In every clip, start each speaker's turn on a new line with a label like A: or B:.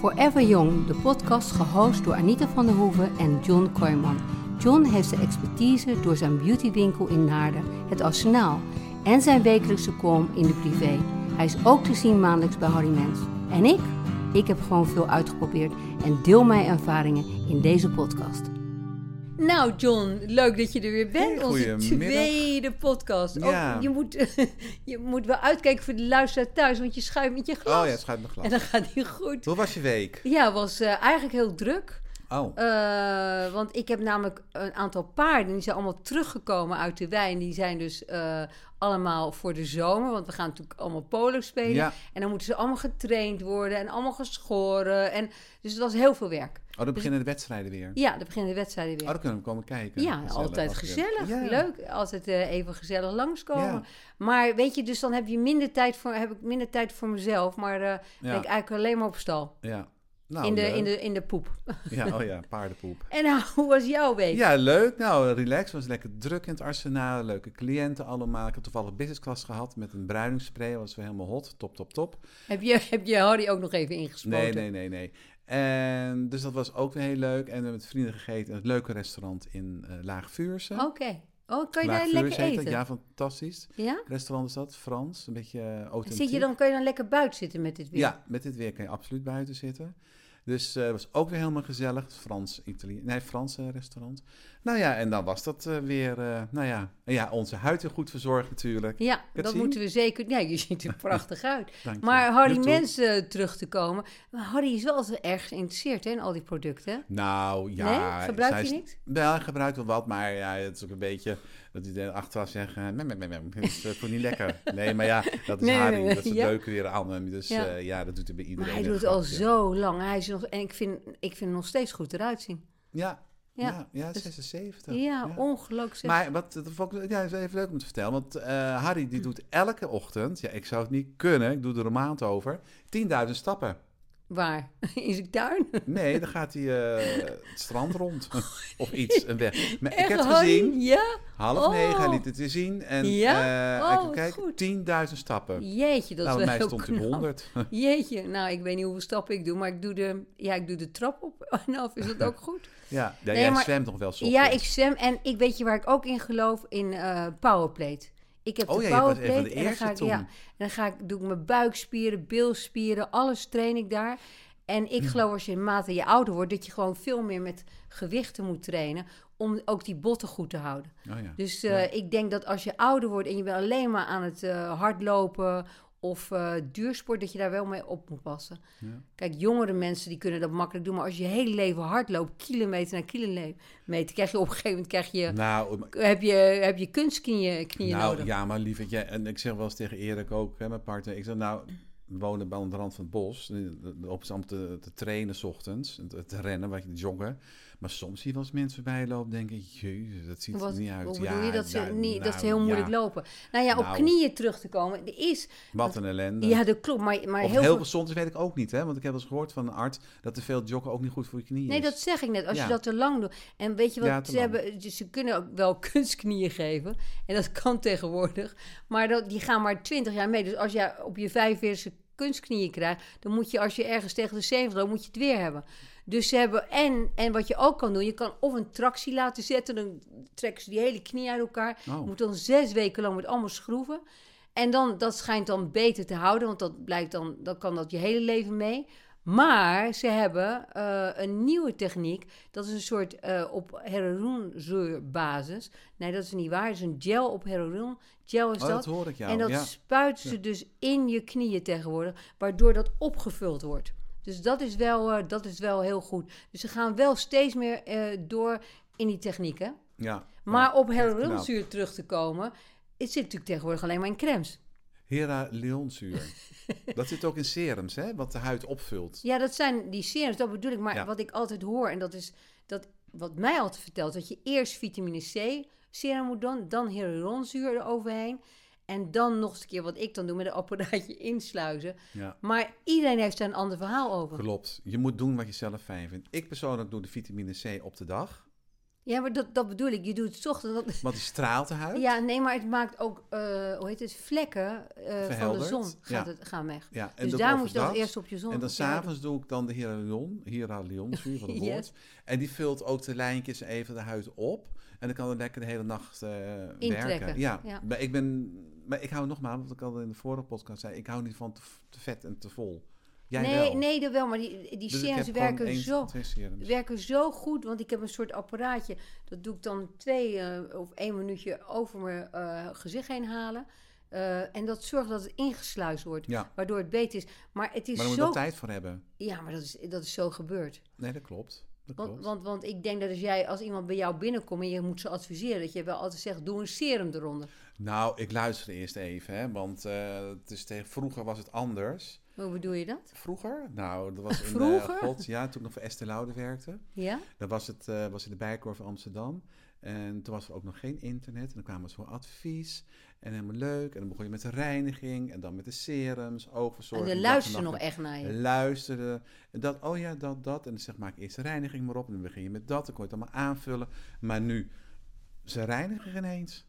A: Forever Young, de podcast gehost door Anita van der Hoeven en John Kooijman. John heeft de expertise door zijn beautywinkel in Naarden, het Arsenaal, en zijn wekelijkse column in de privé. Hij is ook te zien maandelijks bij Harry Mens. En ik? Ik heb gewoon veel uitgeprobeerd en deel mijn ervaringen in deze podcast. Nou, John, leuk dat je er weer bent.
B: Hey,
A: Onze
B: goedemiddag.
A: tweede podcast. Oh,
B: Ja.
A: je, moet, je moet wel uitkijken voor de luisteraar thuis, want je schuift met je glas.
B: Oh ja, schuim mijn glas.
A: En dan gaat hij goed.
B: Hoe was je week?
A: Ja, het was eh, eigenlijk heel druk.
B: Oh,
A: Eh, want ik heb namelijk een aantal paarden. Die zijn allemaal teruggekomen uit de wijn. Die zijn dus eh, allemaal voor de zomer. Want we gaan natuurlijk allemaal polo spelen.
B: ja.
A: En dan moeten ze allemaal getraind worden. En allemaal geschoren. En, dus het was heel veel werk.
B: Oh, dan beginnen de wedstrijden weer.
A: Eh, Ja, dan beginnen de wedstrijden weer.
B: Oh, dan kunnen we komen kijken.
A: Ja,
B: Gezellig,
A: altijd
B: als je-
A: gezellig.
B: Ja.
A: Leuk. Altijd eh, even gezellig langskomen.
B: Ja.
A: Maar weet je, dus dan heb, je minder tijd voor, heb ik minder tijd voor mezelf. Maar eh ben
B: Ja.
A: ik eigenlijk alleen maar op stal.
B: ja. Nou,
A: in, de,
B: leuk.
A: in, de, in de poep.
B: Ja, oh ja, paardenpoep.
A: En nou, hoe was jouw week?
B: Ja, leuk. Nou, relax. Was lekker druk in het arsenaal. Leuke cliënten allemaal. Ik heb toevallig business class gehad met een bruiningsspray. Was weer helemaal hot. Top, top, top.
A: Heb, je, heb je Harry ook nog even ingespoten?
B: Nee, nee, nee, nee. En dus dat was ook weer heel leuk. En we hebben met vrienden gegeten in het leuke restaurant in eh Laagvuurse.
A: Oké. Oh, kan je daar
B: Laagvuurse
A: lekker
B: heet dat.
A: eten? Ja.
B: Ja, fantastisch. Restaurant is dat, Frans. Een beetje eh, authentiek.
A: Zit je dan, kan je dan lekker buiten zitten met dit weer?
B: Ja, met dit weer kan je absoluut buiten zitten. Dus eh, het was ook weer helemaal gezellig. Het Frans, Italië, nee, Franse restaurant. Nou ja, en dan was dat eh, weer, eh, nou ja, En ja, onze huid weer goed verzorgd natuurlijk.
A: Ja,
B: het
A: dat
B: zien?
A: moeten we zeker. Ja, je ziet er prachtig uit.
B: Dank je.
A: Maar Harry
B: Doe toe.
A: mensen terug te komen. Maar Harry is wel altijd erg geïnteresseerd hè, in al die producten.
B: Nou ja.
A: nee? Gebruik
B: zij
A: je
B: is-
A: niks?
B: Wel, hij gebruikt wel wat, maar ja, het is ook een beetje dat hij er achteraf zegt, eh, mem, mem, mem, mem. dat is eh, voor niet lekker. Nee, maar ja, dat is
A: Nee,
B: Harry,
A: nee, nee,
B: dat is het
A: ja.
B: leuke weer aan hem. Dus
A: Ja.
B: ja, ja dat doet hij bij iedereen.
A: Maar hij
B: een
A: doet het al
B: grapje.
A: zo lang. Hij is nog, en ik vind, ik vind hem nog steeds goed eruit zien.
B: Ja,
A: Ja.
B: ja, ja,
A: Dus-
B: 76.
A: Ja, ongelooflijk. zeg.
B: Maar wat, dat vond ik- ja, is even leuk om te vertellen. Want eh, Harry
A: Hm.
B: die doet elke ochtend, ja, ik zou het niet kunnen, ik doe er een maand over, 10.000 stappen.
A: Waar? In zijn tuin?
B: Nee, dan gaat hij eh, het strand rond of iets, een weg. Maar ik
A: Echt,
B: heb
A: Harry?
B: gezien,
A: Ja?
B: half
A: Oh.
B: negen, hij liet het weer zien. En
A: Ja?
B: eh,
A: Oh,
B: en
A: wat
B: kijk,
A: goed.
B: 10.000 stappen.
A: Jeetje, dat
B: nou, bij
A: is wel
B: mij
A: heel
B: stond hij op
A: knap.
B: 100.
A: Jeetje, nou, ik weet niet hoeveel stappen ik doe, maar ik doe de, ja, ik doe de trap op en af. Is dat ook goed?
B: ja, ja,
A: Nee,
B: jij
A: maar-
B: zwemt nog wel soms.
A: Ja, ik zwem en ik weet je waar ik ook in geloof? In eh powerplate. Ik heb
B: Oh
A: de
B: ja, je was een van de
A: powerplate en dan
B: eerste
A: ga ik,
B: toen.
A: ja, en dan ga ik, doe ik mijn buikspieren, bilspieren, alles train ik daar. En
B: Hm.
A: ik geloof als je in mate je ouder wordt, dat je gewoon veel meer met gewichten moet trainen om ook die botten goed te houden.
B: Oh, ja.
A: Dus eh, ik denk dat als je ouder wordt en je bent alleen maar aan het eh, hardlopen of eh, duursport, dat je daar wel mee op moet passen.
B: Ja.
A: Kijk, jongere mensen die kunnen dat makkelijk doen, maar als je je hele leven hardloopt, kilometer na kilometer, krijg je op een gegeven moment krijg je,
B: Nou, maar-
A: heb je, heb je kunstknieën knieën
B: nou,
A: nodig.
B: Ja, maar lieverd, jij, en ik zeg wel eens tegen Erik ook, hè, mijn partner. Ik zeg nou, we wonen bij aan de rand van het bos. eh, Op is om te, te trainen 's ochtends, en te, te rennen, wat je joggen. Maar soms zie je wel eens mensen voorbij lopen denken, jezus, dat ziet
A: Wat-
B: er niet uit.
A: Hoe
B: ja,
A: bedoel je dat ze,
B: nou,
A: niet, dat
B: nou,
A: ze heel
B: ja.
A: moeilijk lopen? Nou ja, op
B: Nou.
A: knieën terug te komen. Er is,
B: Wat een ellende.
A: ja, dat klopt, maar, maar
B: of het
A: heel
B: heel
A: veel...
B: gezond is, weet ik ook niet. Hè? Want ik heb eens gehoord van een arts dat te veel joggen ook niet goed voor je knieën
A: Nee,
B: is.
A: dat zeg ik net. Als je
B: Ja.
A: dat te lang doet. En weet je wat,
B: Ja, te
A: ze,
B: lang.
A: hebben, ze kunnen ook wel kunstknieën geven. En dat kan tegenwoordig. Maar dat, die gaan maar 20 jaar mee. Dus als jij op je 45 kunstknieën krijgt... dan moet je als je ergens tegen de 70 loopt, moet je het weer hebben. Dus ze hebben... En, en wat je ook kan doen, je kan of een tractie laten zetten... dan trekken ze die hele knie uit elkaar.
B: Oh.
A: Moet dan zes weken lang met allemaal schroeven. En dan, dat schijnt dan beter te houden, want dat blijkt dan, dan kan dat je hele leven mee. Maar ze hebben eh, een nieuwe techniek. Dat is een soort eh, op heroïnezuurbasis. Nee, dat is niet waar. Het is een gel op heroïne. Gel is
B: Oh,
A: dat.
B: dat hoor ik jou.
A: en dat
B: ja.
A: spuiten ze dus in je knieën tegenwoordig, waardoor dat opgevuld wordt. Dus dat is wel, eh, dat is wel heel goed. Dus ze gaan wel steeds meer eh, door in die technieken.
B: Ja.
A: Maar op
B: knap.
A: heroïnezuur terug te komen, het zit natuurlijk tegenwoordig alleen maar in crèmes.
B: Hera leonzuur. dat zit ook in serums, hè? wat de huid opvult.
A: Ja, dat zijn die serums, dat bedoel ik. Maar
B: Ja.
A: wat ik altijd hoor, en dat is dat, wat mij altijd vertelt, dat je eerst vitamine C serum moet doen, dan hyaluronzuur eroverheen. En dan nog eens een keer wat ik dan doe met een apparaatje insluizen.
B: Ja.
A: Maar iedereen heeft daar een ander verhaal over.
B: Klopt. Je moet doen wat je zelf fijn vindt. Ik persoonlijk doe de vitamine C op de dag.
A: Ja, maar dat, dat bedoel ik. Je doet het 's ochtends. dat-
B: Want die straalt eruit.
A: Ja, nee, maar het maakt ook, eh, hoe heet het, vlekken eh, van de
B: Verhelderd,
A: zon
B: ja.
A: gaat het, gaan weg.
B: Ja, en
A: Dus
B: dat
A: daar
B: over
A: moet je dat
B: dat.
A: eerst op je zon.
B: En dan
A: op je huid-
B: s'avonds doe ik dan de hyaluron, hyaluron, sorry van het
A: Yes.
B: woord. En die vult ook de lijntjes even de huid op. En dan kan het lekker de hele nacht eh, werken.
A: Intrekken,
B: Ja,
A: ja.
B: Maar, ik ben, maar ik hou nogmaals, want ik al in de vorige podcast zei, ik hou niet van te, te vet en te vol. Jij
A: nee,
B: wel.
A: nee, dat wel, maar die, die
B: Dus ik
A: serums
B: heb gewoon
A: werken
B: één-
A: zo.
B: twee serums.
A: werken zo goed, want ik heb een soort apparaatje. Dat doe ik dan twee eh, of één minuutje over mijn eh, gezicht heen halen. Eh, en dat zorgt dat het ingesluist wordt,
B: Ja,
A: waardoor het beter is. Maar het is
B: maar daar moet je
A: zo.
B: wel tijd voor hebben.
A: Ja, maar dat is, dat is zo gebeurd.
B: Nee, dat klopt. Dat
A: Want,
B: klopt.
A: want, want ik denk dat als jij, als iemand bij jou binnenkomt en je moet ze adviseren, dat je wel altijd zegt: doe een serum eronder.
B: Nou, ik luister eerst even, hè, want eh, het is tegen, vroeger was het anders.
A: Hoe bedoel je dat?
B: Vroeger? Nou, dat was in eh,
A: Vroeger?
B: God, ja, toen ik nog voor Estée Lauder werkte.
A: Ja?
B: Dan was het eh, was in de Bijenkorf in Amsterdam. En toen was er ook nog geen internet. En dan kwamen ze voor advies. En helemaal leuk. En dan begon je met de reiniging. En dan met de serums,
A: En
B: oogverzorging.
A: dan
B: dag en
A: luister
B: nacht.
A: nog echt naar je.
B: Luisteren. En dat, oh ja, dat, dat. En dan zeg, maak eerst de reiniging maar op. En dan begin je met dat. Dan kon je het allemaal aanvullen. Maar nu, ze reinigen ineens.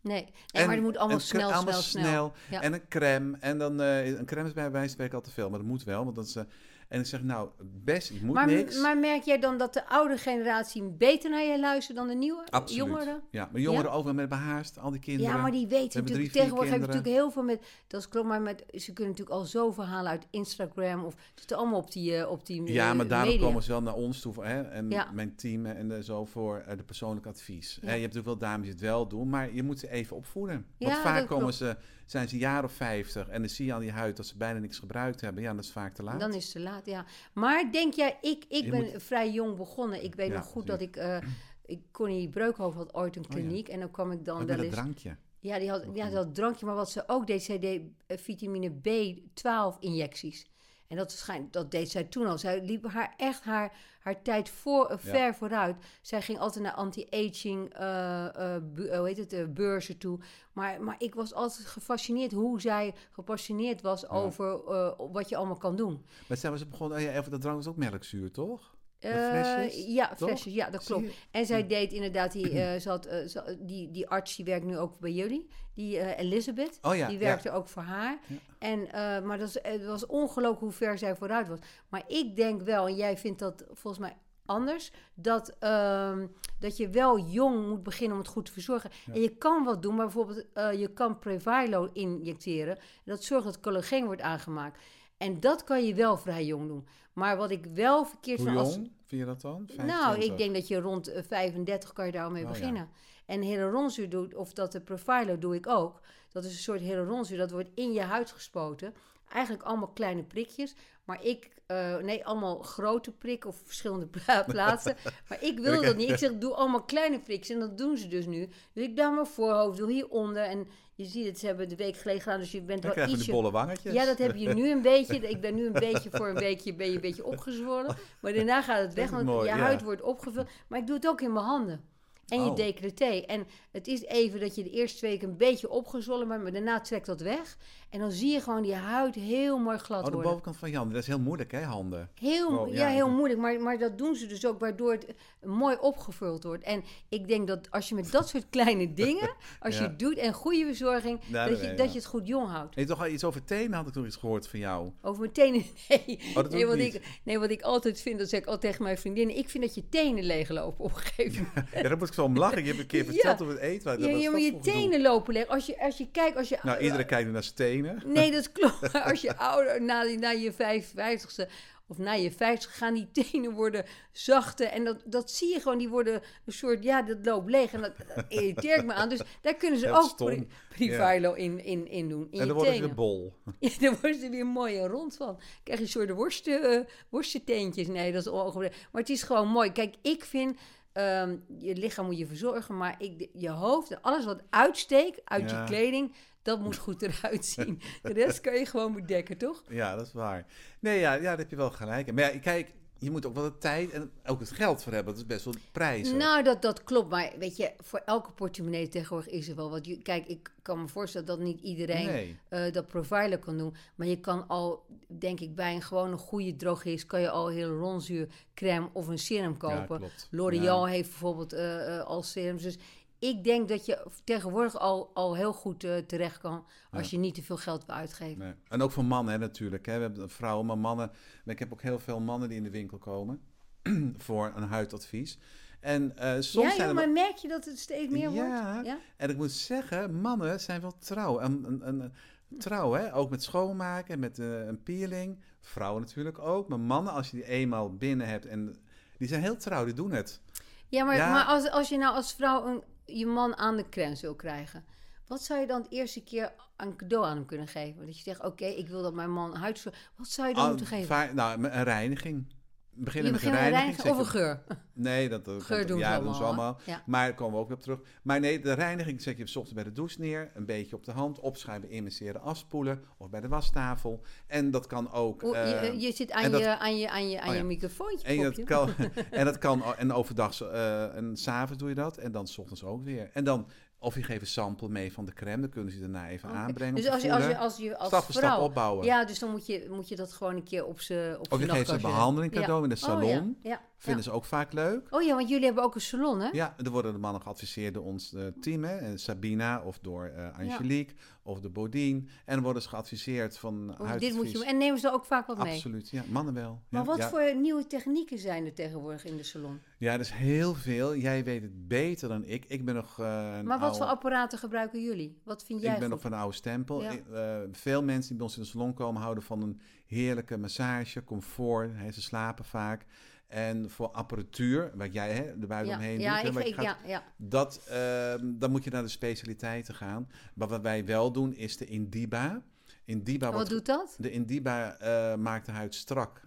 A: Nee, nee maar het moet allemaal
B: en cre-
A: snel,
B: allemaal
A: snel, snel. Ja.
B: En een crème. En dan, eh, een crème is bij wijze van spreken al te veel. Maar dat moet wel. Want dat is, eh, en ik zeg, nou, best, het moet
A: Maar,
B: niks.
A: maar merk jij dan dat de oude generatie beter naar je luistert dan de nieuwe?
B: Absoluut.
A: Jongeren?
B: Ja, maar jongeren overal met behaast, al die kinderen.
A: Ja, maar die weten
B: hebben
A: natuurlijk.
B: drie, vier
A: tegenwoordig hebben
B: kinderen.
A: natuurlijk heel veel met. Dat is klopt, maar met, ze kunnen natuurlijk al zo verhalen uit Instagram. Of het zit allemaal op die. eh, op die
B: Ja,
A: eh,
B: maar daarom
A: media.
B: komen ze wel naar ons toe. Hè? En
A: Ja.
B: mijn team en eh, zo voor eh, de persoonlijk advies.
A: Ja.
B: Hè, je hebt natuurlijk wel dames die het wel doen, maar je moet ze even opvoeden. Want
A: Ja,
B: vaak
A: dat
B: komen
A: klopt.
B: ze, zijn ze een jaar of 50 en dan zie je aan die huid dat ze bijna niks gebruikt hebben. Ja, dat is vaak te laat.
A: Dan is het te laat, ja. Maar denk jij, ik, ik
B: Je
A: ben
B: moet-
A: vrij jong begonnen. Ik weet
B: Ja,
A: nog goed dat ik. eh ik Connie Breukhoofd had ooit een
B: Oh ja.
A: kliniek. En dan kwam ik dan
B: Ook
A: wel
B: met
A: eens.
B: dat drankje.
A: Ja, die had,
B: Nog
A: ja,
B: een-
A: die had drankje, maar wat ze ook deed, zij deed eh, vitamine B12 injecties. En dat, schijnt, dat deed zij toen al. Zij liep haar echt haar, haar tijd voor, eh,
B: Ja.
A: ver vooruit. Zij ging altijd naar anti-aging eh, eh, bu- eh, hoe heet het, eh, beurzen toe. Maar, maar ik was altijd gefascineerd hoe zij gepassioneerd was over eh, wat je allemaal kan doen.
B: Maar zijn we ze begonnen, oh ja, even, dat drank is ook melkzuur, toch? De
A: Eh,
B: flesjes,
A: ja,
B: toch?
A: flesjes. Ja, dat
B: Zie
A: klopt.
B: je?
A: En zij deed inderdaad, die, eh, ze had, eh, ze- die, die arts die werkt nu ook bij jullie, die eh, Elizabeth.
B: Oh ja,
A: die
B: ja.
A: werkte ook voor haar.
B: Ja.
A: En, eh, maar dat is- het was ongelooflijk hoe ver zij vooruit was. Maar ik denk wel, en jij vindt dat volgens mij anders, dat, ehm, dat je wel jong moet beginnen om het goed te verzorgen. En je kan wat doen, maar bijvoorbeeld eh, je kan Previlo injecteren. Dat zorgt dat collageen wordt aangemaakt. En dat kan je wel vrij jong doen. Maar wat ik wel verkeerd
B: Hoe
A: vind als-
B: jong vind je dat dan?
A: nou,
B: 25?
A: ik denk dat je rond eh, 35 kan je daarmee
B: Oh, ja.
A: beginnen. En hyaluronzuur doet, of dat de profilo doe ik ook. Dat is een soort hyaluronzuur, dat wordt in je huid gespoten. Eigenlijk allemaal kleine prikjes. Maar ik, eh, nee, allemaal grote prikken of verschillende pla- plaatsen. maar ik wil dat niet. Ik zeg, doe allemaal kleine prikjes. En dat doen ze dus nu. Dus ik doe mijn voorhoofd, doe hieronder. En je ziet het, ze hebben het de week geleden gedaan. Dus je bent
B: Dan
A: wel
B: krijgen we die
A: ietsje
B: bolle wangetjes.
A: ja, dat heb je nu een beetje. Ik ben nu een beetje voor een weekje ben je een beetje opgezwollen. Maar daarna gaat het weg,
B: is
A: want
B: mooi,
A: je
B: ja.
A: huid wordt opgevuld. Maar ik doe het ook in mijn handen. En je
B: Oh.
A: decolleté. En het is even dat je de eerste twee weken een beetje opgezwollen bent, maar daarna trekt dat weg. En dan zie je gewoon die huid heel mooi glad
B: Oh, de
A: worden.
B: bovenkant van Jan, dat is heel moeilijk, hè, handen.
A: Heel,
B: Oh,
A: ja,
B: ja, ik
A: heel
B: doe-
A: moeilijk. Maar, maar dat doen ze dus ook, waardoor het eh, mooi opgevuld wordt. En ik denk dat als je met dat soort kleine dingen, als je
B: Ja.
A: het doet en goede verzorging,
B: Ja,
A: dat,
B: dat-
A: je,
B: ja.
A: dat je het goed jong houdt.
B: Heb je toch al iets over tenen had ik nog iets gehoord van jou?
A: Over mijn tenen, nee.
B: Oh, dat doe
A: nee,
B: ik
A: wat
B: niet.
A: ik, nee, wat ik altijd vind, dat zeg ik altijd tegen mijn vriendinnen. Ik vind dat je tenen leeglopen op een gegeven moment.
B: Ja, daar moet ik zo om lachen. Je hebt een keer
A: Ja.
B: verteld op het eten.
A: Ja, ja, maar je tenen lopen leeg. Als je, als je kijkt, als je...
B: Nou, iedereen kijkt nu naar stenen.
A: Nee, dat klopt. Maar als je ouder, na, na je 55ste of na je 50 gaan die tenen worden zachter. En dat, dat zie je gewoon, die worden een soort, ja, dat loopt leeg. En dat, dat irriteert me aan. Dus daar kunnen ze
B: Ja,
A: ook
B: stom.
A: pri- Privilo in, in, in doen. In
B: en
A: je
B: dan wordt het
A: tenen.
B: weer bol.
A: Ja, daar worden ze weer mooi en rond van. Krijg je een soort worsten, eh, worstenteentjes. Nee, dat is ongeveer. Maar het is gewoon mooi. Kijk, ik vind, ehm, je lichaam moet je verzorgen, maar ik, je hoofd en alles wat uitsteekt uit
B: Ja.
A: je kleding, dat moet goed eruit zien. De rest kan je gewoon bedekken, toch?
B: Ja, dat is waar. Nee, ja, ja daar heb je wel gelijk. in. Maar ja, kijk, je moet ook wel de tijd en ook het geld voor hebben. Dat is best wel prijzig.
A: Nou, dat, dat klopt. Maar weet je, voor elke portemonnee tegenwoordig is er wel wat. Je- Kijk, ik kan me voorstellen dat niet iedereen
B: nee.
A: eh, dat profiler kan doen. Maar je kan al, denk ik, bij een gewone goede drogist... kan je al heel ronzuurcrème of een serum
B: Ja,
A: kopen.
B: klopt.
A: L'Oreal
B: Ja.
A: heeft bijvoorbeeld eh, eh, al serums. Dus ik denk dat je tegenwoordig al, al heel goed eh, terecht kan... als je niet te veel geld wil uitgeven.
B: Nee. En ook voor mannen hè, natuurlijk. Hè. We hebben vrouwen, maar mannen. Maar ik heb ook heel veel mannen die in de winkel komen voor een huidadvies. En eh, soms
A: ja,
B: zijn
A: joh,
B: er
A: maar merk je dat het steeds meer
B: Ja.
A: wordt? Ja.
B: En ik moet zeggen, mannen zijn wel trouw. En, en, en, eh, trouw, hè? Ook met schoonmaken, met eh, een peeling. Vrouwen natuurlijk ook. Maar mannen, als je die eenmaal binnen hebt... En, die zijn heel trouw, die doen het.
A: Ja, maar,
B: Ja.
A: maar als, als je nou als vrouw een, je man aan de krens wil krijgen, wat zou je dan het eerste keer aan cadeau aan hem kunnen geven? Dat je zegt, oké, ik wil dat mijn man huidzorg... Wat zou je dan
B: Al-
A: moeten geven?
B: vaar- nou, een reiniging. Beginnen
A: je
B: met een
A: begint met
B: reiniging.
A: reinigen of een
B: zeker-
A: geur.
B: Nee, dat, dat
A: Geur
B: komt-
A: doen ze
B: ja, dat
A: allemaal.
B: doen ze allemaal.
A: hè? Ja.
B: Maar daar komen we ook weer op terug. Maar nee, de reiniging zet je op 's ochtends bij de douche neer. Een beetje op de hand. Opschuiven, immerseren, afspoelen. Of bij de wastafel. En dat kan ook...
A: Hoe- je,
B: eh,
A: je zit aan,
B: en dat-
A: je, aan je, aan je, aan
B: Oh,
A: je
B: ja.
A: microfoontje,
B: En dat
A: popje.
B: kan, en dat kan o- en overdag eh, en s'avonds doe je dat. En dan 's ochtends ook weer. En dan, of je geeft een sample mee van de crème. Dan kunnen ze daarna even
A: Oké.
B: aanbrengen.
A: Dus
B: om te
A: als je, als je,
B: voelen.
A: als je als
B: stap voor
A: vrouw...
B: stap opbouwen.
A: Ja, dus dan moet je, moet je dat gewoon een keer op ze op
B: of je
A: z'n
B: geeft ze een
A: nachtkastje-
B: behandeling
A: Ja.
B: cadeau in de salon.
A: Oh ja, ja, ja.
B: Vinden ze ook vaak leuk.
A: Oh ja, want jullie hebben ook een salon, hè?
B: Ja, er worden de mannen geadviseerd door ons eh, team. Hè, eh, Sabina of door eh, Angelique of de Bodine. En worden ze geadviseerd van
A: Oh, Dit
B: huidadvies.
A: moet je, en nemen ze er ook vaak wat mee?
B: Absoluut, ja. Mannen wel.
A: Maar
B: ja,
A: wat
B: ja.
A: voor nieuwe technieken zijn er tegenwoordig in de salon?
B: Ja, er is heel veel. Jij weet het beter dan ik. Ik ben nog eh, een
A: Maar wat
B: oude-
A: voor apparaten gebruiken jullie? Wat vind jij
B: Ik ben
A: goed?
B: nog van een oude stempel.
A: Ja.
B: Ik- eh, veel mensen die bij ons in de salon komen houden van een heerlijke massage, comfort. Hè, ze slapen vaak. En voor apparatuur, wat jij hè, de buik
A: ja,
B: omheen
A: ja,
B: doet. hè,
A: ik,
B: wat je
A: ik-
B: gaat-
A: ja, ja.
B: dat, ehm, dan moet je naar de specialiteiten gaan. Maar wat wij wel doen is de Indiba. Indiba
A: Wat
B: wordt-
A: doet dat?
B: de Indiba eh, maakt de huid strak.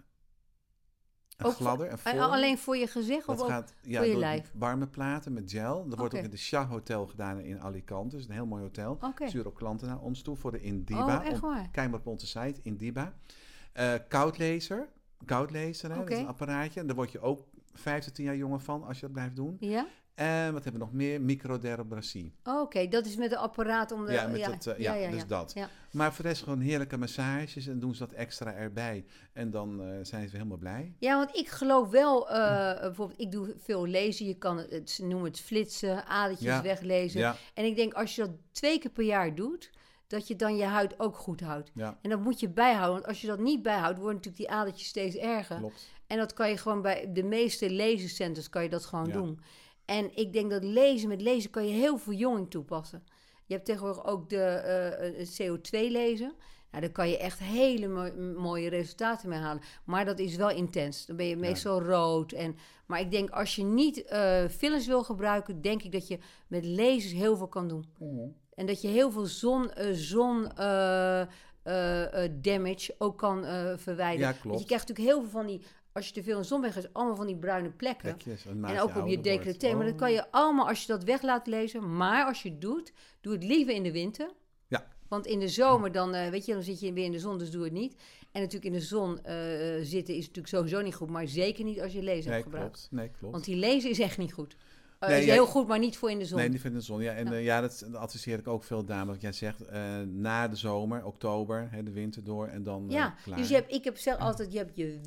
B: En
A: Ook voor-
B: gladder en
A: En
B: vol.
A: Alleen voor je gezicht?
B: Dat
A: of ook-
B: gaat ja,
A: voor je
B: door
A: lijf?
B: warme platen met gel. Dat wordt
A: Oké.
B: ook in de Shah Hotel gedaan in Alicante. Dus een heel mooi hotel.
A: Oké.
B: Stuur ook klanten naar ons toe voor de Indiba.
A: Oh, echt
B: Om-
A: waar?
B: Kijk maar op onze site, Indiba. Eh koudlaser. Koudlaser, hè, dat is
A: Oké.
B: een apparaatje. En daar word je ook 5 tot 10 jaar jonger van als je dat blijft doen.
A: Ja?
B: En wat hebben we nog meer? Microdermabrasie.
A: Oh, Oké, dat is met een apparaat om de...
B: Ja, met dat, eh, ja, dus dat.
A: Oh, ja.
B: Maar voor de rest gewoon heerlijke massages en doen ze dat extra erbij. En dan eh, zijn ze helemaal blij.
A: Ja, want ik geloof wel, eh, bijvoorbeeld, ik doe veel lezen. Je kan het- het, ze noemen het flitsen, adertjes
B: Ja,
A: weglezen.
B: Ja,
A: En ik denk, als je dat twee keer per jaar doet, dat je dan je huid ook goed houdt.
B: ja,
A: En dat moet je bijhouden, want als je dat niet bijhoudt, worden natuurlijk die adertjes steeds erger.
B: klopt.
A: En dat kan je gewoon bij de meeste lezencenters kan je dat gewoon
B: Ja.
A: doen. En ik denk dat lezen met lezen kan je heel veel jonging toepassen. Je hebt tegenwoordig ook de eh, eh, CO2 lezen. Nou, daar kan je echt hele mo- mooie resultaten mee halen. Maar dat is wel intens. Dan ben je meestal rood. En, maar ik denk, als je niet eh, fillers wil gebruiken, denk ik dat je met lasers heel veel kan doen.
B: Mhm.
A: En dat je heel veel zon, eh, zon eh, eh, eh, damage ook kan eh, verwijderen.
B: Ja,
A: Want
B: klopt.
A: je krijgt natuurlijk heel veel van die, als je te veel in de zon bent, is allemaal van die bruine plekken.
B: Plekjes, en maakt
A: En ook op
B: ouder
A: je
B: wordt.
A: decolleté. Maar dat
B: Oh.
A: kan je allemaal als je dat weg laat lezen. Maar als je het doet, doe het liever in de winter.
B: Ja.
A: Want in de zomer dan, eh, weet je, dan zit je weer in de zon, dus doe het niet. En natuurlijk in de zon eh, zitten is natuurlijk sowieso niet goed. Maar zeker niet als je lezen
B: Oh, Nee,
A: hebt gebruikt.
B: klopt. Nee, klopt.
A: Want die lezen is echt niet goed. Eh,
B: Nee,
A: is
B: jij-
A: heel goed, maar niet voor in de zon.
B: Nee, die vinden de zon. Ja, en ja, ja dat, dat adviseer ik ook veel dames. Wat jij zegt, eh, na de zomer, oktober, hè, de winter door en dan eh,
A: Ja,
B: klaar.
A: dus je hebt, ik heb zelf altijd, je hebt je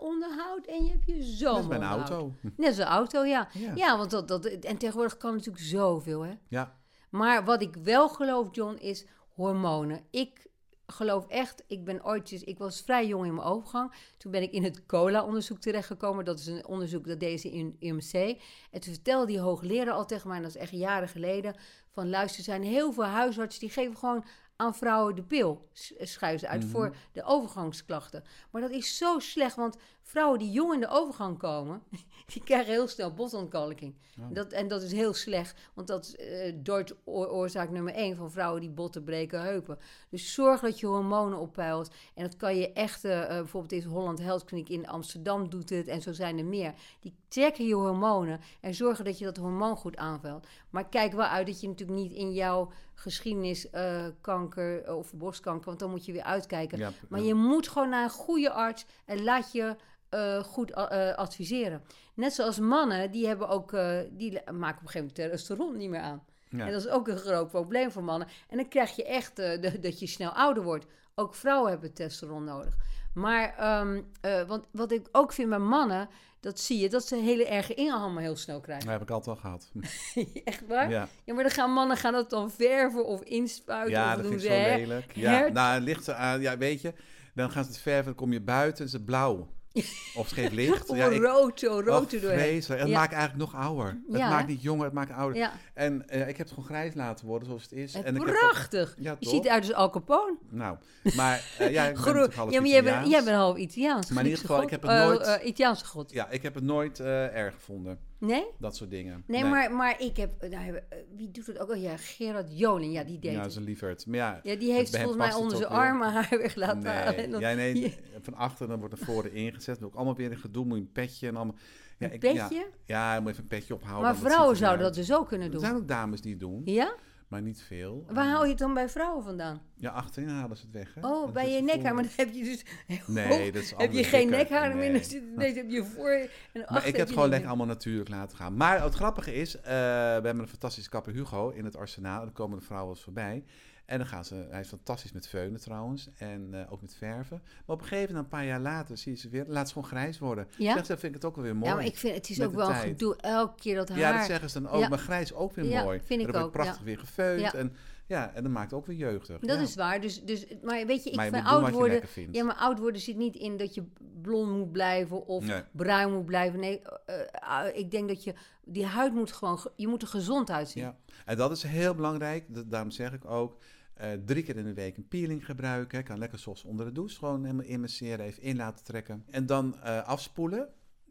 A: winteronderhoud en je hebt je
B: dat is bij een
A: zomeronderhoud.
B: auto.
A: Net als een auto, ja.
B: Ja.
A: Ja, want dat, dat, en tegenwoordig kan natuurlijk zoveel, hè.
B: Ja,
A: Maar wat ik wel geloof, John, is hormonen. Ik geloof echt, ik ben ooit, eens- ik was vrij jong in mijn overgang. Toen ben ik in het COLA-onderzoek terechtgekomen. Dat is een onderzoek dat deed ze in UMC. En toen vertelde die hoogleraar al tegen mij, en dat is echt jaren geleden, van luister, er zijn heel veel huisartsen die geven gewoon aan vrouwen de pil, s- schuiven ze uit voor de overgangsklachten. Maar dat is zo slecht, want vrouwen die jong in de overgang komen, die krijgen heel snel botontkalking.
B: Oh.
A: Dat, en dat is heel slecht, want dat is eh Dutch oor- oorzaak nummer één van vrouwen die botten breken, heupen. Dus zorg dat je hormonen oppeilt. En dat kan je echt, eh, eh, bijvoorbeeld deze Holland Health Clinic in Amsterdam doet het en zo zijn er meer. Die checken je hormonen en zorgen dat je dat hormoon goed aanvult. Maar kijk wel uit dat je natuurlijk niet in jouw geschiedenis eh, kanker of borstkanker, want dan moet je weer uitkijken.
B: ja,
A: Maar je moet gewoon naar een goede arts en laat je eh, goed a- eh, adviseren. Net zoals mannen, die, hebben ook, eh, die le- maken op een gegeven moment testosteron niet meer aan.
B: Ja.
A: En dat is ook een groot probleem voor mannen. En dan krijg je echt eh, de- dat je snel ouder wordt. Ook vrouwen hebben testosteron nodig. Maar ehm, eh, want wat ik ook vind bij mannen, dat zie je, dat ze hele erge inhammen heel snel
B: Dat
A: krijgen.
B: heb ik altijd al gehad.
A: echt waar? Ja.
B: Ja,
A: maar dan gaan mannen gaan dat dan verven of inspuiten
B: ja
A: of
B: dat
A: doen
B: vind ik
A: ze
B: zo
A: hè-
B: lelijk. Ja,
A: hert-
B: nou, het ligt aan, ja, weet je, dan gaan ze het verven, dan kom je buiten, is het blauw. Of scheef licht.
A: of
B: Ja, ik-
A: rood, zo rood
B: oh,
A: erdoorheen.
B: vreselijk. Het
A: Ja.
B: maakt eigenlijk nog ouder.
A: Ja.
B: Het maakt niet jonger, het maakt ouder.
A: Ja,
B: En eh, ik heb het gewoon grijs laten worden zoals het is.
A: het
B: en ik heb ook-
A: prachtig.
B: ja,
A: je
B: toch?
A: ziet eruit als Al Capone.
B: Nou, maar eh, ja, ik ben
A: Groen-
B: natuurlijk half
A: ja, maar jij bent,
B: Italiaans.
A: jij bent half Italiaans.
B: Maar in ieder
A: Griekse
B: geval, ik
A: god.
B: heb het
A: Eh,
B: nooit-
A: eh, Italiaanse god.
B: Ja, ik heb het nooit eh, erg gevonden.
A: Nee?
B: Dat soort dingen.
A: Nee, Maar, maar ik heb, nou, hebben- eh, wie doet het ook? Oh ja, Gerard Joling, ja, die deed
B: Ja,
A: het.
B: ze lieverd. Maar ja,
A: Ja, die heeft
B: bij hem
A: volgens mij
B: past het
A: onder
B: ook
A: zijn
B: weer.
A: armen haar weg laten halen.
B: nee.
A: En dan-
B: Ja,
A: Ja.
B: nee, van achter dan wordt er voren ingezet. Ook allemaal weer een gedoe, moet je een petje en allemaal. Ja, Oh,
A: Een
B: ik-
A: petje?
B: Ja, ja, moet even een petje ophouden.
A: maar
B: want het
A: vrouwen
B: ziet er niet
A: zouden dat
B: uit.
A: dus ook kunnen
B: Er
A: doen.
B: zijn ook dames die het doen,
A: Ja?
B: maar niet veel.
A: Waar hou je het dan bij vrouwen vandaan?
B: Ja, achterin halen ze het weg. Hè?
A: Oh,
B: Dat
A: bij
B: is
A: je
B: het
A: nekhaar. Maar
B: voordeel.
A: dan heb je dus heel
B: Nee,
A: hoog-
B: dat is
A: Heb je
B: anders
A: geen
B: dikker.
A: nekhaar meer,
B: Nee.
A: dan zit het ineens op je voor en
B: Maar
A: achter.
B: ik heb het gewoon lekker allemaal natuurlijk laten gaan. Maar het grappige is, eh, we hebben een fantastische kapper Hugo in het arsenaal. En dan komen de vrouwen wel eens voorbij. En dan gaan ze, hij is fantastisch met veunen trouwens. En eh, ook met verven. Maar op een gegeven moment, een paar jaar later, zie je ze weer. Laat ze gewoon grijs worden.
A: Ja?
B: Zeg, dat vind ik het ook wel weer mooi.
A: Ja, maar ik vind het is
B: Met
A: ook
B: de
A: wel een
B: tijd.
A: gedoe elke keer dat haar.
B: Ja, dat zeggen ze dan ook.
A: Ja.
B: Maar grijs ook weer
A: Ja,
B: mooi.
A: vind
B: En
A: ik
B: dan wordt
A: ook,
B: prachtig
A: ja.
B: weer gefeund.
A: Ja.
B: En, ja, en dat maakt ook weer jeugdig.
A: Dat
B: ja.
A: is waar. Dus, dus, maar weet je, ik
B: maar je
A: vind
B: moet
A: oud
B: doen wat je
A: worden.
B: lekker vindt.
A: Ja, maar oud worden zit niet in dat je blond moet blijven of
B: Nee.
A: bruin moet blijven. Nee, eh, eh, ik denk dat je die huid moet gewoon. ge- Je moet er gezond uitzien.
B: Ja, en dat is heel belangrijk. Dat, daarom zeg ik ook, eh, drie keer in de week een peeling gebruiken. Ik kan lekker zoals onder de douche gewoon helemaal immerseren, even in laten trekken. En dan eh, afspoelen.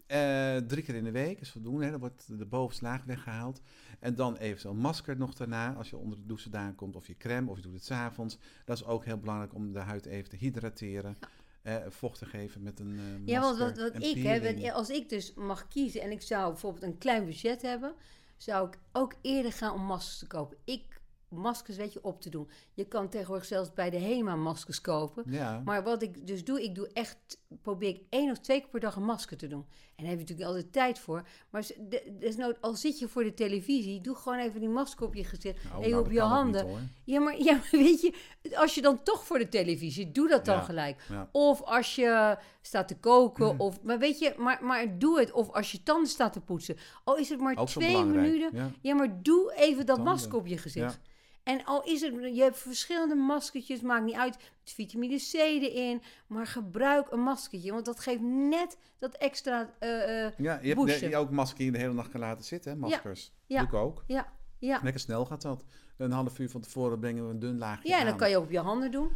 B: Eh, drie keer in de week is voldoende. Hè? Dan wordt de bovenste laag weggehaald. En dan even zo'n masker nog daarna, als je onder de douche vandaan komt. Of je crème, of je doet het s'avonds. Dat is ook heel belangrijk om de huid even te hydrateren. eh, vocht te geven met een eh masker
A: Ja, want wat, wat
B: en
A: ik, hè,
B: peeling.
A: wat- als ik dus mag kiezen en ik zou bijvoorbeeld een klein budget hebben, zou ik ook eerder gaan om maskers te kopen. Ik maskers, weet je, op te doen. Je kan tegenwoordig zelfs bij de HEMA maskers kopen.
B: ja.
A: Maar wat ik dus doe, ik doe echt, probeer ik één of twee keer per dag een masker te doen. En daar heb je natuurlijk altijd tijd voor. Maar ze- de- desnood, al zit je voor de televisie, doe gewoon even die masker op je gezicht
B: Nou,
A: en
B: nou,
A: op
B: dat
A: je
B: kan ook niet,
A: handen.
B: hoor.
A: ja, maar, ja, maar weet je, als je dan toch voor de televisie, doe dat dan
B: Ja, Hmm.
A: gelijk.
B: ja.
A: Of als je staat te koken, of, maar weet je, maar, maar doe het. Of als je tanden staat te poetsen. Al is het maar
B: Ook zo
A: twee
B: belangrijk,
A: minuten.
B: ja.
A: maar doe even dat
B: Tanden.
A: masker op je gezicht. En al is het, je hebt verschillende maskertjes, maakt niet uit, met vitamine C erin, maar gebruik een maskertje, want dat geeft net dat extra, eh, eh,
B: Ja, je hebt
A: Boesje.
B: ne- je ook maskers die je de hele nacht kan laten zitten, hè? maskers.
A: ja.
B: Doe ik ook.
A: ja, ja.
B: Lekker snel gaat dat. Een half uur van tevoren brengen we een dun laagje
A: Ja, en dan
B: aan.
A: kan je ook op je handen doen.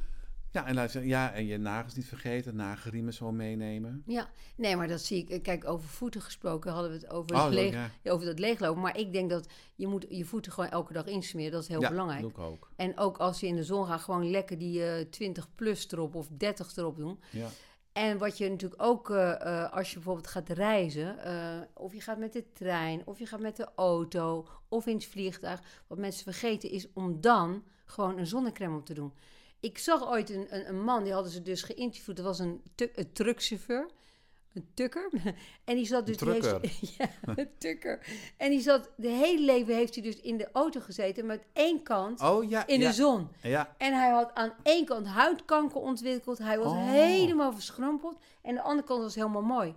B: Ja, en, luister, ja, en je nagels niet vergeten, nagelriemen zo meenemen.
A: Ja, nee, maar dat zie ik. eh, Kijk, over voeten gesproken hadden we het over,
B: Oh,
A: het leeg-
B: ja.
A: ja, over dat leeglopen. Maar ik denk dat je moet je voeten gewoon elke dag insmeren. Dat is heel
B: ja,
A: belangrijk.
B: doe ik ook.
A: En ook als je in de zon gaat, gewoon lekker die eh 20 plus erop of 30 erop doen.
B: Ja.
A: En wat je natuurlijk ook, eh, eh, als je bijvoorbeeld gaat reizen, eh, of je gaat met de trein, of je gaat met de auto, of in het vliegtuig. Wat mensen vergeten is om dan gewoon een zonnecrème op te doen. Ik zag ooit een, een, een man, die hadden ze dus geïnterviewd. Dat was een, tu- een truckchauffeur. Een tukker. En die zat dus...
B: Een
A: die heeft- ja, een tukker. En die zat... De hele leven heeft hij dus in de auto gezeten met één kant
B: Oh ja,
A: in
B: ja,
A: de zon.
B: ja.
A: En hij had aan één kant huidkanker ontwikkeld. Hij was
B: Oh.
A: helemaal verschrompeld. En de andere kant was helemaal mooi.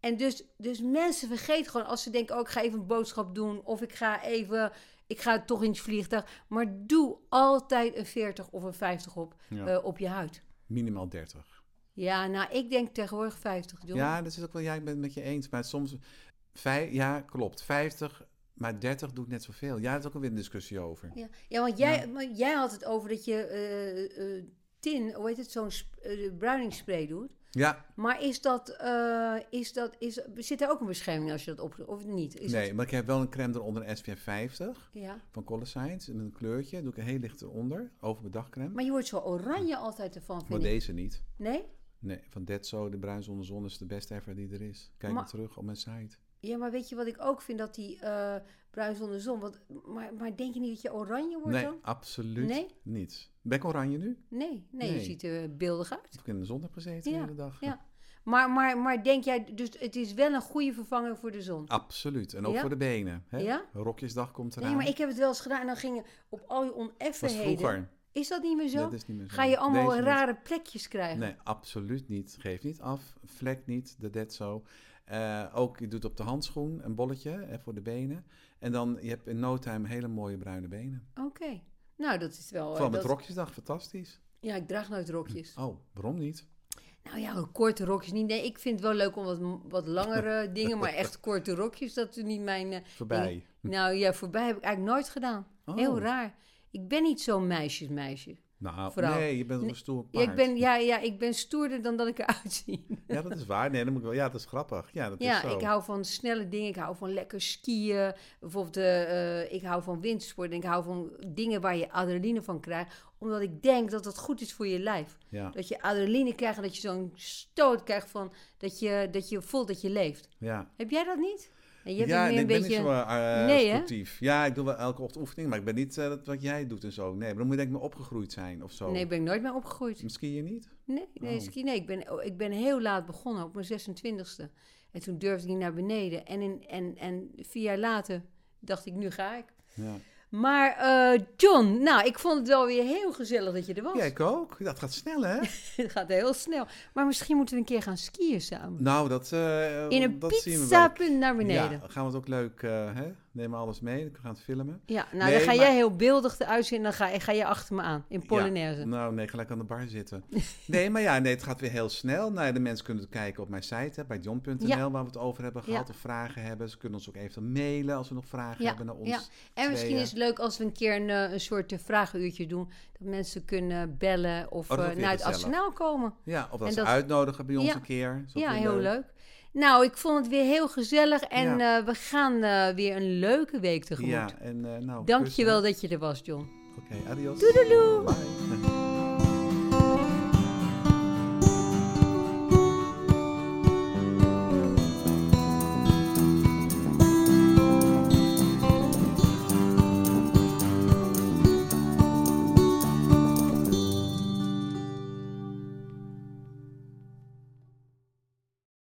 A: En dus, dus mensen vergeten gewoon als ze denken: oh, ik ga even een boodschap doen. Of ik ga even. Ik ga toch in het vliegtuig. Maar doe altijd een 40 of een 50 op,
B: Ja.
A: eh, op je huid.
B: minimaal 30.
A: Ja, nou, ik denk tegenwoordig 50. John.
B: Ja, dat is ook wel, ja, ik ben het met je eens. Maar soms, vij, ja, klopt, 50, maar 30 doet net zoveel. Ja, daar is ook alweer een discussie over.
A: Ja, ja want jij, maar jij had het over dat je eh, eh, tin, hoe heet het, zo'n sp- eh, bruiningsspray doet.
B: Ja,
A: Maar is dat, eh, is dat is, zit er ook een bescherming als je dat op of niet? Is
B: nee,
A: het-
B: maar ik heb wel een crème eronder, een SPF 50
A: ja.
B: van Color Science. En een kleurtje, doe ik een heel licht eronder, over mijn dagcrème.
A: Maar je wordt zo oranje altijd ervan,
B: Maar
A: vind ik.
B: deze niet.
A: Nee?
B: Nee, van Detso, de bruin zonder zon is de beste ever die er is. Kijk
A: Maar-
B: maar terug op mijn site.
A: Ja, maar weet je wat ik ook vind? Dat die eh bruin zonder zon. Want, maar, maar denk je niet dat je oranje wordt
B: Nee,
A: dan?
B: absoluut
A: Nee?
B: niet. Ben ik oranje nu?
A: Nee, nee, je
B: Nee.
A: ziet er beeldig uit.
B: Of ik in de zon heb gezeten de hele dag?
A: Ja. Maar, maar, maar denk jij, dus het is wel een goede vervanger voor de zon?
B: Absoluut. En ook
A: Ja?
B: voor de benen. Hè?
A: Ja?
B: Rokjesdag komt eraan.
A: Nee, maar ik heb het wel eens gedaan en dan ging je op al je
B: was
A: oneffenheden.
B: vroeger.
A: Is dat niet meer zo?
B: Dat is niet meer zo.
A: Ga je allemaal
B: Deze niet.
A: rare plekjes krijgen?
B: Nee, absoluut niet. Geef niet af. Vlek niet. De dead zo. Eh, ook, je doet op de handschoen een bolletje hè, voor de benen. En dan, je hebt in no time hele mooie bruine benen.
A: Oké. Nou, dat is wel... eh,
B: Van met
A: dat-
B: rokjesdag, fantastisch.
A: Ja, ik draag nooit rokjes.
B: Oh, waarom niet?
A: Nou ja, korte rokjes niet. Nee, ik vind het wel leuk om wat, wat langere dingen, maar echt korte rokjes, dat is niet mijn... eh,
B: Voorbij.
A: ding. Nou ja, voorbij heb ik eigenlijk nooit gedaan.
B: Hm. Oh.
A: Heel raar. Ik ben niet zo'n meisjesmeisje.
B: Nou,
A: Vrouw.
B: nee, je bent
A: Nee,
B: een stoer
A: Ja,
B: paard.
A: ik ben, ja, ja, ik ben stoerder dan dat ik eruit zie.
B: Ja, dat is waar. Nee, dan moet ik wel... Ja, dat is grappig. Ja, dat
A: Ja,
B: is zo.
A: ik hou van snelle dingen. Ik hou van lekker skiën. Bijvoorbeeld, eh, eh, ik hou van windsporten. Ik hou van dingen waar je adrenaline van krijgt. Omdat ik denk dat dat goed is voor je lijf.
B: Ja,
A: Dat je adrenaline krijgt en dat je zo'n stoot krijgt van dat je, dat je voelt dat je leeft.
B: ja.
A: Heb jij dat niet? En je hebt
B: ja,
A: nu
B: nee,
A: een
B: ik ben niet
A: beetje.
B: zo eh,
A: Nee, hè?
B: sportief. Ja, ik doe wel elke ochtend oefening, maar ik ben niet eh, dat wat jij doet en zo. Nee, maar dan moet je denk ik me opgegroeid zijn of zo.
A: Nee, ben ik nooit meer opgegroeid.
B: Misschien je niet?
A: Nee, nee,
B: Oh.
A: ski- nee ik, ben, oh, ik ben heel laat begonnen, op mijn 26e. En toen durfde ik niet naar beneden. En, in, en, en vier jaar later dacht ik, nu ga ik.
B: Ja.
A: Maar eh, John, nou, ik vond het wel weer heel gezellig dat je er was.
B: ja, ik ook. Dat gaat snel, hè?
A: Het gaat heel snel. Maar misschien moeten we een keer gaan skiën samen.
B: nou, dat, eh
A: In een
B: dat zien we wel.
A: pizzapunt naar beneden.
B: Ja, gaan we het ook leuk, eh hè? neem alles mee, we gaan het filmen.
A: Ja, nou,
B: Nee,
A: dan ga
B: maar-
A: jij heel beeldig eruit zien en dan ga, ga je achter me aan in Polonaise.
B: Ja, nou nee, gelijk aan de bar zitten. Nee, maar ja, nee, het gaat weer heel snel. Nou, ja, de mensen kunnen het kijken op mijn site, hè, bij john.nl,
A: Ja.
B: waar we het over hebben gehad. Of vragen hebben. Ze kunnen ons ook even mailen als we nog vragen
A: Ja,
B: hebben naar ons.
A: ja. En misschien
B: tweeën.
A: is het leuk als we een keer een, eh, een soort eh, vragenuurtje doen. Dat mensen kunnen bellen of
B: Oh, dat
A: eh,
B: vind ik
A: naar het
B: gezellig.
A: arsenaal komen.
B: Ja, of dat
A: En
B: ze
A: dat-
B: uitnodigen bij ons
A: Ja.
B: een keer. Is ook
A: Ja,
B: weer
A: heel leuk. Nou, ik vond het weer heel gezellig en eh, we gaan eh, weer een leuke week tegemoet.
B: Ja, en eh nou...
A: Dank je wel
B: kussen.
A: dat je er was, John.
B: Oké, adios.
A: Doedeloe.
B: Bye.